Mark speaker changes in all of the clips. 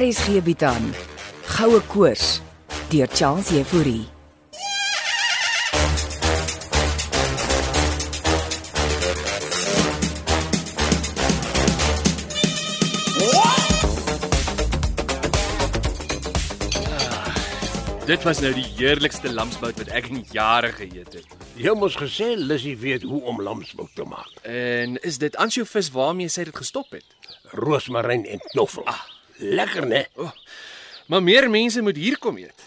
Speaker 1: RSG bied aan Goue Koors deur Charles Jefouri.
Speaker 2: Dit was nou die heerlikste lamsbout wat ek in jare geëet het.
Speaker 3: Jy mos gesê Lissy weet hoe om lamsbout te maak.
Speaker 2: En is dit ansjovis waarmee sy dit gestop het?
Speaker 3: Roosmaryn en knoffel. Lekker né?
Speaker 2: Maar meer mense moet hier kom eet.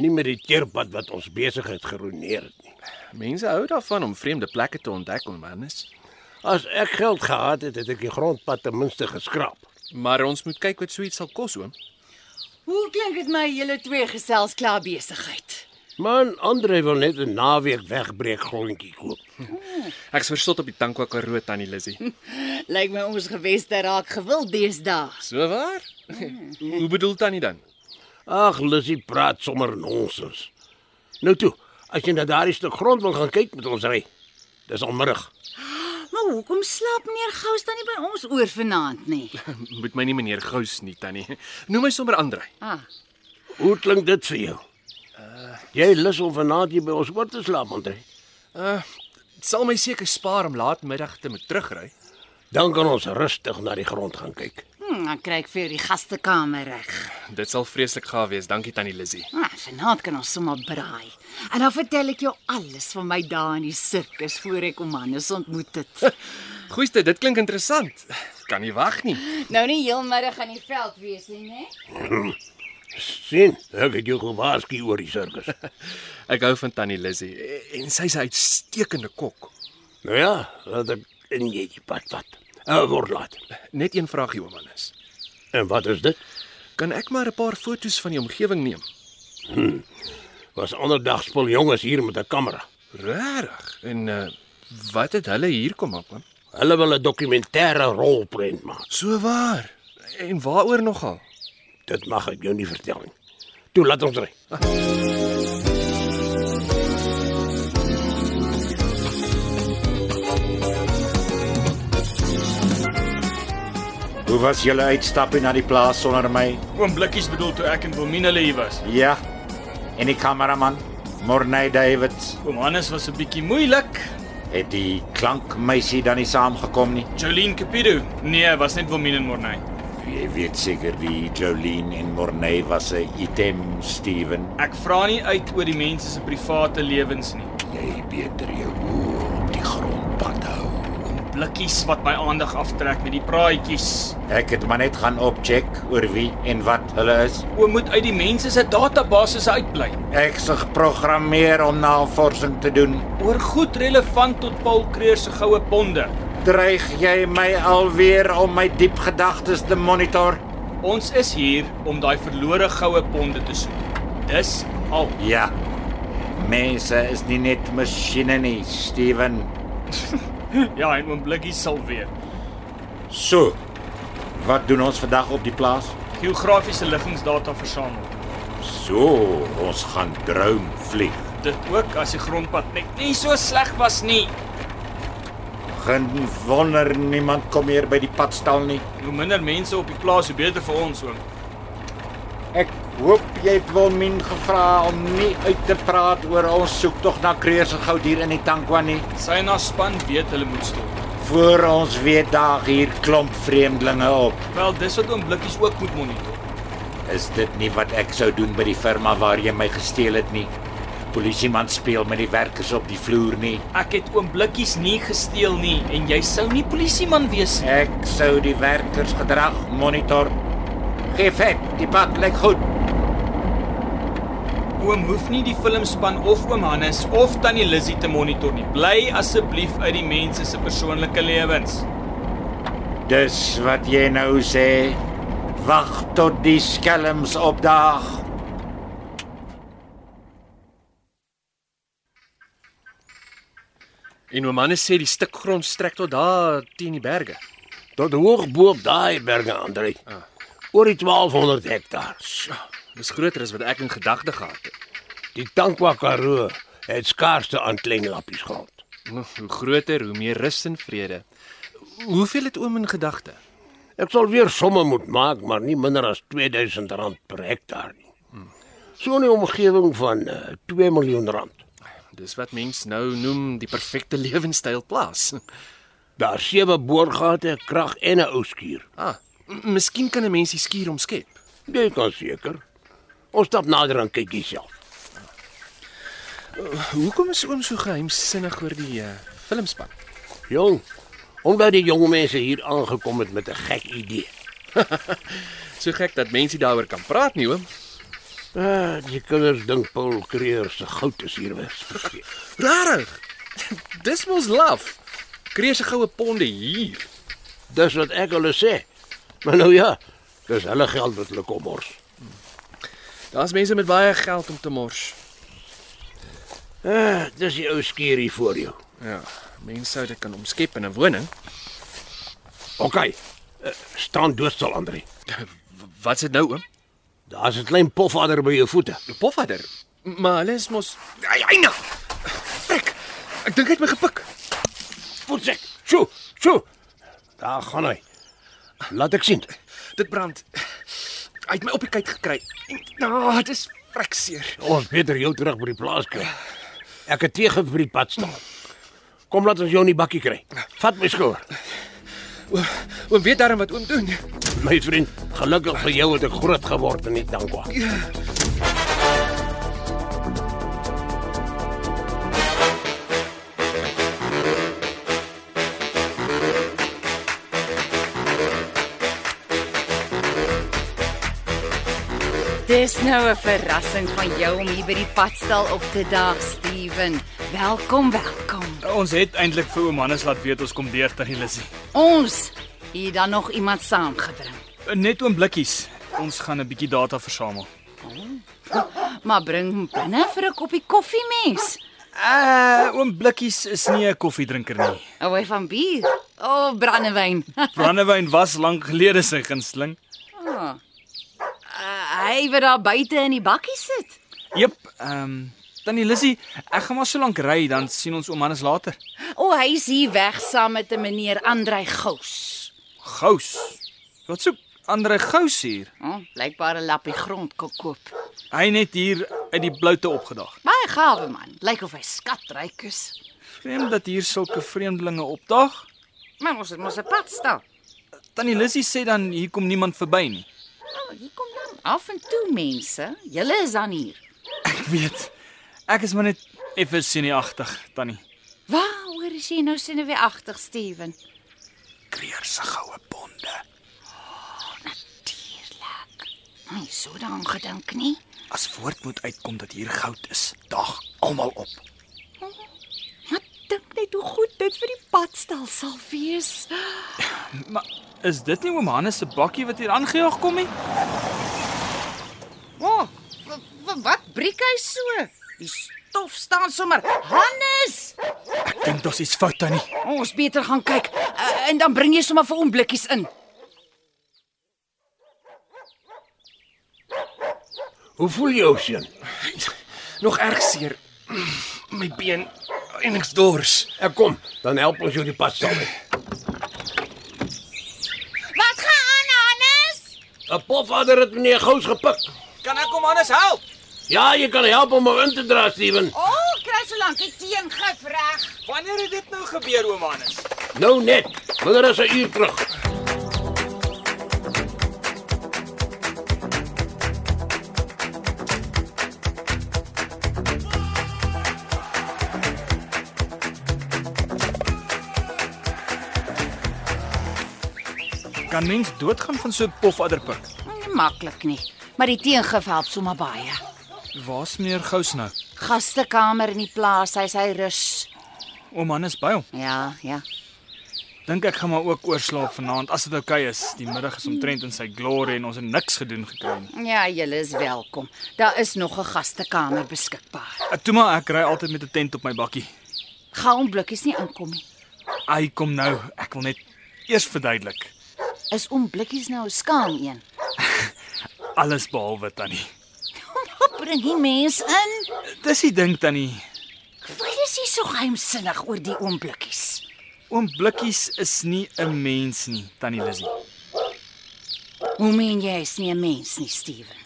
Speaker 3: Nie met die teerpad wat ons besigheid geruineer het nie.
Speaker 2: Mense hou daarvan om vreemde plekke te ontdek, Onmanus.
Speaker 3: As ek geld gehad het, het ek die grondpad ten minste geskraap.
Speaker 2: Maar ons moet kyk wat so iets sal kos, oom.
Speaker 4: Hoe klink dit my julle twee gesels klaar besigheid?
Speaker 3: Man, Andre wil net 'n naweek wegbreek grondjie koop.
Speaker 2: Ek's versot op die tankwa karoo tannie Lissy.
Speaker 4: Lyk my ons geweste raak gewild deesdae.
Speaker 2: So waar? Mm. Hoe bedoel tannie dan?
Speaker 3: Ag, Lissy praat sommer nonsens. Nou toe, as jy na daardie stuk grond wil gaan kyk met ons ry. Dis almiddag.
Speaker 4: Maar hoekom slaap meneer Gous dan nie by ons oor vanaand nie?
Speaker 2: Moet my nie meneer Gous nie, tannie. Noem my sommer Andrei.
Speaker 4: Ah,
Speaker 3: Hoe klink dit vir jou? Jy lus om vanaand hier by ons oor te slaap, Andre.
Speaker 2: Dit sal my seker spaar om laatmiddag te moet terugry.
Speaker 3: Dan kan ons rustig na die grond gaan kyk.
Speaker 4: hm, dan kry ek vir die gastekamer reg.
Speaker 2: Dit sal vreeslik gaaf wees, dankie tannie Lissy.
Speaker 4: Ah, vanaand kan ons sommer braai. En dan vertel ek jou alles van my dae in die sirkus voor ek Omanus ontmoet het.
Speaker 2: Goeiste, dit klink interessant. Kan nie wag nie.
Speaker 4: nou nie heelmiddag aan die veld wees nie, né?
Speaker 3: Sien, ek het jou gewaarsku oor die sirkus.
Speaker 2: Ek hou van Tannie Lissy en sy's 'n uitstekende kok.
Speaker 3: nou ja, laat ek in jy die pad vat. Uh, word laat.
Speaker 2: Net een vraagie oom Hannes.
Speaker 3: En wat is dit?
Speaker 2: Kan ek maar 'n paar foto's van die omgewing neem?
Speaker 3: Was anderdag spul jonges hier met 'n kamera.
Speaker 2: Regtig? En uh, wat het hulle hier kom maak, man?
Speaker 3: Hulle wil 'n dokumentêre rolprent maak.
Speaker 2: So waar. En waaroor nogal?
Speaker 3: Dit mag ek jou nie vertel nie. Toe laat ons ry.
Speaker 5: Hoe was julle uitstappie na die plaas sonder my?
Speaker 6: Oom Blikkies bedoel toe ek en Wilmien hulle hier was.
Speaker 5: Ja. En die kameraman, Morney Davids,
Speaker 6: Oom Hannes was 'n bietjie moeilik.
Speaker 5: het die klankmeisie dan nie saamgekom nie.
Speaker 6: Jolene Capido. Nee, was net Wilmien en Morney.
Speaker 5: Jy weet seker die Jolene en Morney was 'n item Steven.
Speaker 6: Ek vra nie uit oor die mense se private lewens nie.
Speaker 5: Jy beter jou oor op die grond pad hou.
Speaker 6: Blikkies wat my aandag aftrek met die praatjies.
Speaker 5: Ek het maar net gaan opcheck oor wie en wat hulle is.
Speaker 6: Oom moet uit die mense se databasisse uitbly.
Speaker 5: Ek se geprogrammeer om navorsing te doen.
Speaker 6: Oor goed relevant tot Paul Kreer se goue bonde.
Speaker 5: Dreig jy my alweer om my diep gedagtes te monitor?
Speaker 6: Ons is hier om daai verlore goue bonde te soek. Dis al.
Speaker 5: Ja. Mense is nie net masjiene nie, Steven.
Speaker 6: Ja, en oom Blikkies sal weet.
Speaker 5: So, wat doen ons vandag op die plaas?
Speaker 6: Geografiese liggingsdata versamel.
Speaker 5: So, ons gaan droom vlieg.
Speaker 6: Dit ook as die grondpad net nie so sleg was nie.
Speaker 5: Geen wonder niemand kom hier by die padstal nie.
Speaker 6: Hoe minder mense op die plaas, hoe beter vir ons oom.
Speaker 5: Ek hoop jy het wel min gevra om nie uit te praat oor ons soektog na Kreerse goud hier in die Tankwa nie.
Speaker 6: Sy en haar span weet hulle moet stop.
Speaker 5: Voor ons weet daag hier klomp vreemdelinge op.
Speaker 6: Wel, dis wat oom Blikkies ook moet monitor.
Speaker 5: Is dit nie wat ek sou doen by die firma waar jy my gesteel het nie? Polisieman speel met die werkers op die vloer nie.
Speaker 6: Ek het oom Blikkies nie gesteel nie en jy sou nie polisieman wees nie.
Speaker 5: Ek sou die werkers gedrag monitor. Gee vet, die pad lyk goed.
Speaker 6: Oom hoef nie die filmspan of oom Hannes of tannie Lizzie te monitor nie. Bly asseblief uit die mense se persoonlike lewens.
Speaker 5: Dis wat jy nou sê. Wag tot die skelms opdaag.
Speaker 2: En oom Hannes sê die stuk grond strek tot daar teen die berge.
Speaker 3: Tot hoog bo op daai berge, Andre. Oor die 1200 hektaar.
Speaker 2: Sjoe, dis groter as wat ek in gedagte gehad het.
Speaker 3: Die Tankwa Karoo het skaarste aan klein lappies grond.
Speaker 2: Hm, Nou, Hoe groter, hoe meer rus en vrede. Hoeveel het oom in gedagte?
Speaker 3: Ek sal weer somme moet maak, maar nie minder as R2000 per hektaar nie. So 'n omgewing van uh, 2 miljoen rand.
Speaker 2: Dis wat mens nou noem die perfekte lewenstyl plaas.
Speaker 3: Daar sewe boorgate, krag en 'n ou skuur.
Speaker 2: Ah, m- miskien kan 'n mens die skuur omskep.
Speaker 3: Jy kan seker. Ons stap nader en kyk jouself.
Speaker 2: Hoekom is oom so geheimsinnig oor die uh, filmspan?
Speaker 3: Jong, omdat die jong mense hier aangekom het met 'n gek idee.
Speaker 2: So gek dat mense daaroor kan praat nie, oom.
Speaker 3: Ah, die kinders dink Paul Creer se goud is hier weg.
Speaker 2: Rarig. Dis mos laf. Kreeg se goue ponde hier.
Speaker 3: Dis wat ek hulle sê. Maar nou ja, dis hulle geld wat hulle kom mors.
Speaker 2: Daar's mense met baie geld om te mors.
Speaker 3: Ah, dis die ou skuur hier voor jou.
Speaker 2: Ja, mense sou dit kan omskep in 'n woning.
Speaker 3: OK. Uh, staan doodstil, Andre.
Speaker 2: Wat's dit nou, oom?
Speaker 3: Daar's 'n klein pofadder by jou voete.
Speaker 2: Die pofadder. M- Maar hulle is mos Ai, eindig. Trek. Ek dink hy het my gepik.
Speaker 3: Voetsek. Sjoe, sjoe. Daar gaan hy. Laat ek sien.
Speaker 2: Dit brand. Hy het my op die kyk gekry. Nou, dit is frekseer.
Speaker 3: Ons beter jou terug by die plaas kry. Ek het teë vir die pad staan. Kom laat ons jou in die bakkie kry. Vat my skoor.
Speaker 2: Oom, oom weet darm wat oom doen.
Speaker 3: My vriend, gelukkig vir jou het ek groot geword en nie dankbaar.
Speaker 4: Dis nou 'n verrassing van jou om hier by die padstal op te daag, Steven. Welkom, welkom.
Speaker 6: Ons het eintlik vir oom Hannes laat weet ons kom deur tannie Lizzie.
Speaker 4: Ons het dan nog iemand saamgebring.
Speaker 6: Net oomblikkies. Ons gaan 'n bietjie data versamel.
Speaker 4: Maar bring hom binne vir 'n koppie koffie, mens.
Speaker 6: Uh, oom Blikkies is nie 'n koffiedrinker nie.
Speaker 4: Hou hy van bier? O, oh, brandewyn.
Speaker 6: Brandewyn was lank gelede sy gunsteling.
Speaker 4: Ah. Uh, hy wat daar buite in die bakkie sit.
Speaker 6: Jep, ehm um, tannie Lizzie, ek gaan maar so lank ry dan sien ons oom Hannes later.
Speaker 4: O, oh, hy's hier weg saam met 'n meneer Andrei Gous.
Speaker 6: Gous. Wat soek Andre Gous hier?
Speaker 4: O, oh, blykbaar 'n lappie grond kon koop.
Speaker 6: Hy net hier uit die bloute opgedag.
Speaker 4: Baie gawe man. Lyk of hy skatryk is.
Speaker 6: Vreemd dat hier sulke vreemdelinge opdag.
Speaker 4: Maar ons het mos 'n pad staan.
Speaker 6: Tannie Lizzie sê dan hier kom niemand verby nie.
Speaker 4: Oh, hier kom dan af en toe mense. Julle is dan hier.
Speaker 6: Ek weet. Ek is maar net effens sinieagtig, tannie.
Speaker 4: Waaroor is jy nou sinne weer agtig, Steven?
Speaker 6: Kreer se goue bonde.
Speaker 4: Dierlik. Nee, so dan gedink nie.
Speaker 6: As woord moet uitkom dat hier goud is, dag almal op.
Speaker 4: Maar dink net hoe goed dit vir die padstal sal wees.
Speaker 6: Maar is dit nie oom Hannes se bakkie wat hier aangejaag kom nie?
Speaker 4: O, oh, wat breek hy so? Die stof staan sommer. Hannes,
Speaker 6: Ek dink daar's iets fout tannie.
Speaker 4: ons beter gaan kyk uh, en dan bring jy sommer vir hom blikkies in.
Speaker 3: Hoe voel jy, seun?
Speaker 2: Nog erg seer. My been en ek's dors.
Speaker 3: Ek kom, dan help ons jou die pad staan.
Speaker 4: Wat gaan aan, Hannes?
Speaker 3: 'n Pofadder het meneer Gous gepik.
Speaker 6: Kan ek oom Hannes help?
Speaker 3: Ja, jy kan help om hom in te dra, Steven.
Speaker 4: O, oh, kry so lank ek teen gevraag.
Speaker 6: Wanneer het dit nou gebeur oom Hannes?
Speaker 3: Nou net. Minder as 'n uur terug.
Speaker 6: Kan mens doodgaan van so 'n pofadderpik?
Speaker 4: Nie maklik nie, maar die teengif help sommer baie.
Speaker 6: Waar's meneer Gous nou?
Speaker 4: Gastekamer in die plaas, hy's hy rus.
Speaker 6: Oom Hannes by hom.
Speaker 4: Ja, ja.
Speaker 6: Dink ek gaan maar ook oorslaap vanaand as dit oukei okay is. Die middag is omtrent in sy glorie en ons het niks gedoen gekry nie.
Speaker 4: Ja, julle is welkom. Daar is nog 'n gastekamer beskikbaar.
Speaker 6: Ek Eh, toe maar ek ry altyd met 'n tent op my bakkie.
Speaker 4: Gaan om blikkies nie inkom nie.
Speaker 6: Hy kom nou. Ek wil net eers verduidelik.
Speaker 4: Is om blikkies nou 'n skaam een?
Speaker 6: Alles behalwe tannie.
Speaker 4: Wat bring die mens in?
Speaker 6: Dis die ding tannie.
Speaker 4: Voel jy nie so geheimsinnig oor die oomblikkies?
Speaker 6: Oom Blikkies is nie 'n mens nie, tannie Lizzie.
Speaker 4: Hoe meen jy is nie 'n mens nie, Steven?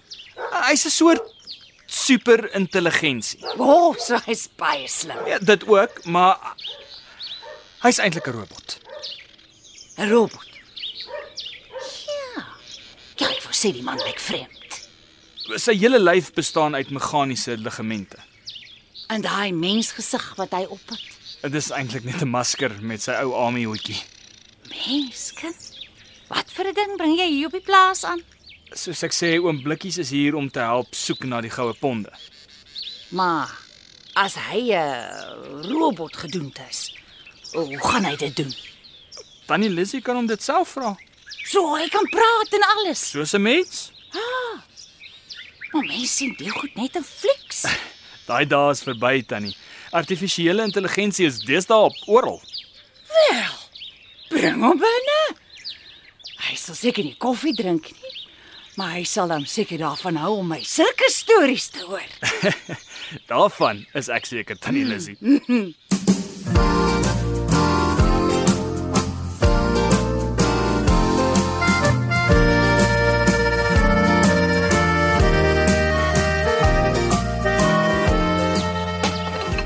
Speaker 6: Hy's 'n soort superintelligensie.
Speaker 4: O, oh, so hy's baie slim.
Speaker 6: Ja, dit ook, maar hy's eintlik 'n robot.
Speaker 4: 'n Robot. Ja. Ja, ek wou sê die man lyk vreemd.
Speaker 6: Sy hele lyf bestaan uit meganiese ligamente.
Speaker 4: En daai mensgesig wat hy op het.
Speaker 6: Dit is eintlik net 'n masker met sy ou army hoedjie.
Speaker 4: Menskind. Wat vir 'n ding bring jy hier op die plaas aan?
Speaker 6: Soos ek sê, oom Blikkies is hier om te help soek na die goue ponde.
Speaker 4: Maar as hy 'n robot gedoemd is, hoe gaan hy dit doen?
Speaker 6: Tannie Lizzie kan hom dit self vra.
Speaker 4: So hy kan praat en alles.
Speaker 6: Soos 'n mens.
Speaker 4: Maar mense sien dit goed net in flieks.
Speaker 6: Daai dae is verby, tannie. Artifisiële intelligensie is deesdae op oral.
Speaker 4: Bring hom binne. Hy sal seker nie koffie drink nie, maar hy sal hom seker daarvan hou om my sulke stories te hoor.
Speaker 6: Daarvan is ek seker, tannie Lizzie.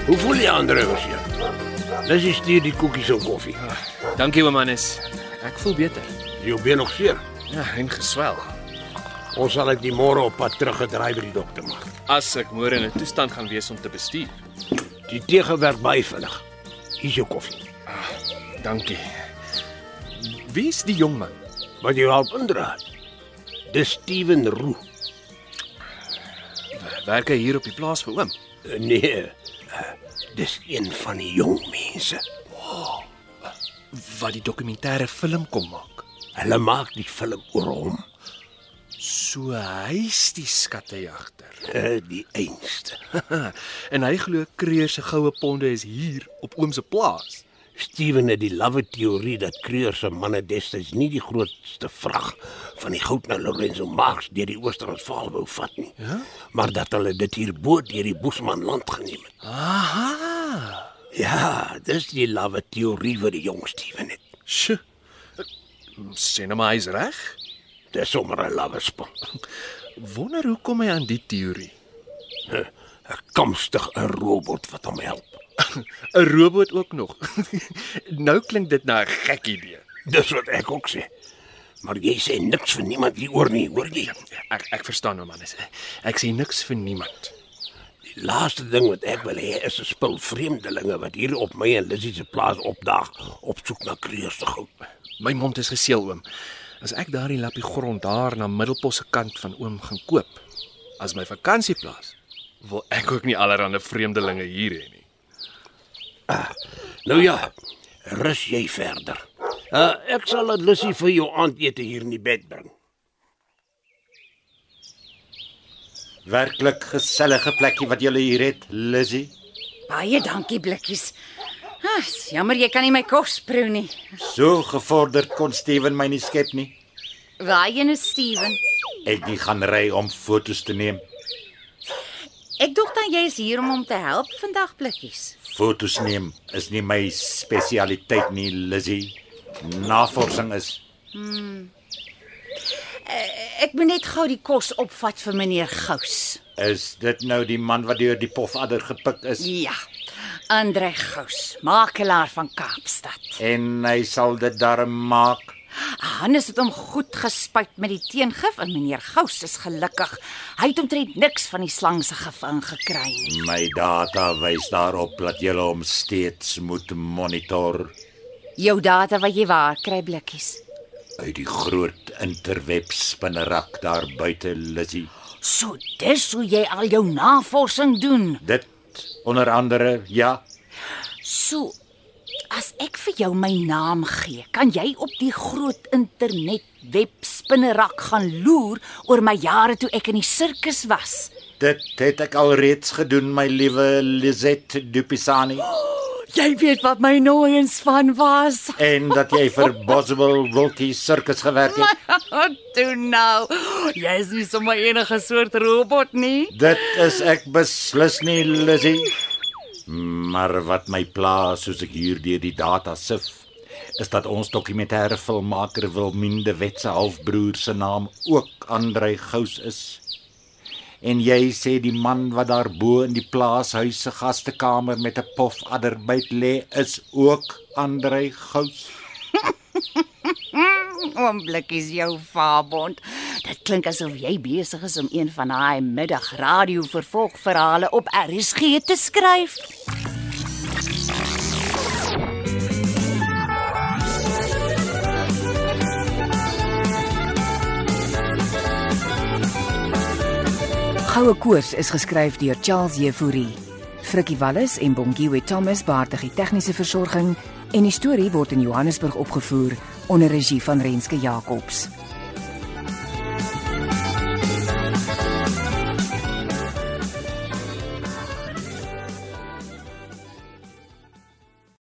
Speaker 3: Hoe voel jy aandrywers hier? Dis jy stuur die koekies en koffie.
Speaker 2: Dankie oom Hannes. Ek voel beter.
Speaker 3: Is jou been nog seer?
Speaker 2: Ja, en geswel.
Speaker 3: Ons sal dit die môre op pad teruggedraai by die dokter maak.
Speaker 2: As ek môre in 'n toestand gaan wees om te bestuur.
Speaker 3: Die teegewerk baie vinnig. Hier's jou koffie.
Speaker 2: Dankie. Wie's die jong man?
Speaker 3: Wat jy help indra. Dis Steven Roo.
Speaker 2: Werk hy hier op die plaas vir oom?
Speaker 3: Nee. Dis een van die jong mense.
Speaker 2: Wat die dokumentêre film kom maak.
Speaker 3: Hulle maak die film oor hom,
Speaker 2: So hy's die skattejagter.
Speaker 3: eh, die einste.
Speaker 2: en hy glo Kreer se goue ponde is hier op oom se plaas.
Speaker 3: Steven het die lawwe teorie dat Kreur se manne destyds nie die grootste vrag van die goud na Lorenzo Marx deur die Oos-Transvaal wou vat nie. Ja? Maar dat hulle dit hier bo deur die Bosmanland geneem het.
Speaker 2: Aha.
Speaker 3: Ja, dis die lawwe teorie wat die jong Steven het.
Speaker 2: Sjoe. Sien hom nou hy's reg?
Speaker 3: Dis sommer 'n lawwe spul.
Speaker 2: Wonder hoe kom hy aan die teorie?
Speaker 3: 'n Kamstig 'n robot wat hom help.
Speaker 2: 'n Robot ook nog. nou klink dit na 'n gek idee.
Speaker 3: Dis wat ek ook sê. Maar jy sê niks vir niemand hieroor nie, hoor jy?
Speaker 2: Ek ek verstaan hom anders. Ek sê niks vir niemand.
Speaker 3: Die laaste ding wat ek wil hê is 'n spul vreemdelinge wat hier op my en Lissy se plaas opdaag op soek na Kreur se goud.
Speaker 2: My mond is geseël oom. As ek daardie lappie grond daar na Middelpos se kant van oom gaan koop as my vakansieplaas, wil ek ook nie allerlei vreemdelinge hier hê nie.
Speaker 3: Nou ja, rus jy verder. Uh, ek sal dit Lissy vir jou aandete hier in die bed bring.
Speaker 5: Werklik gesellige plekkie wat julle hier het, Lizzy.
Speaker 4: Baie dankie blikkies. Ag, jammer jy kan nie my kos proe nie.
Speaker 5: So gevorderd kon Steven my nie skep nie.
Speaker 4: Waarheen is nou, Steven?
Speaker 5: Ek het nie gaan ry om fotos te neem.
Speaker 4: Ek dink dan jy is hier om hom te help vandag blikkies.
Speaker 5: Fotos neem is nie my spesialiteit nie, Lizzy. Navorsing is
Speaker 4: Ek moet net gou die kos opvat vir meneer Gous.
Speaker 5: is dit nou die man wat deur die pofadder gepik is
Speaker 4: Ja. Andre Gous, makelaar van Kaapstad.
Speaker 5: en hy sal dit darm maak.
Speaker 4: Hannes het hom goed gespuit met die teengif en meneer Gous is gelukkig. Hy het omtrent niks van die slang se gif ingekry nie.
Speaker 5: My data wys daarop dat jy hom steeds moet monitor
Speaker 4: Jou data wat jy waar kry blikkies.
Speaker 5: uit die groot interweb spinnerak daar buite, Lizzy.
Speaker 4: So dis hoe jy al jou navorsing doen.
Speaker 5: Dit onder andere, ja,
Speaker 4: So as ek vir jou my naam gee, kan jy op die groot internet webspinnerak gaan loer oor my jare toe ek in die sirkus was.
Speaker 5: dit het ek alreeds gedoen, my liewe Lizette Dupisani,
Speaker 4: Jy weet wat my nooiens van was.
Speaker 5: en dat jy vir Boswell Wilkie Circus gewerk het.
Speaker 4: Wat doen nou? Jy is nie sommer enige soort robot nie.
Speaker 5: Dit is ek beslis nie, Lizzy. Maar wat my pla soos ek hier deur die data sif, is dat ons dokumentêre filmmaker Wilmien de Wet se halfbroer se naam ook Andrei Gous is. En jy sê die man wat daarbo in die plaashuis se gastekamer met 'n pofadder byt lê is ook Andrei Gous.
Speaker 4: Oomblik is jou vaabond. Dit klink asof jy besig is om een van daai middagradio vervolgverhale op RSG te skryf.
Speaker 1: Goue Koors is geskryf deur Charles Jefouri. Frikkie Wallis en Bongiwe Thomas baartig die tegniese versorging en die storie word in Johannesburg opgevoer onder regie van Renske Jacobs.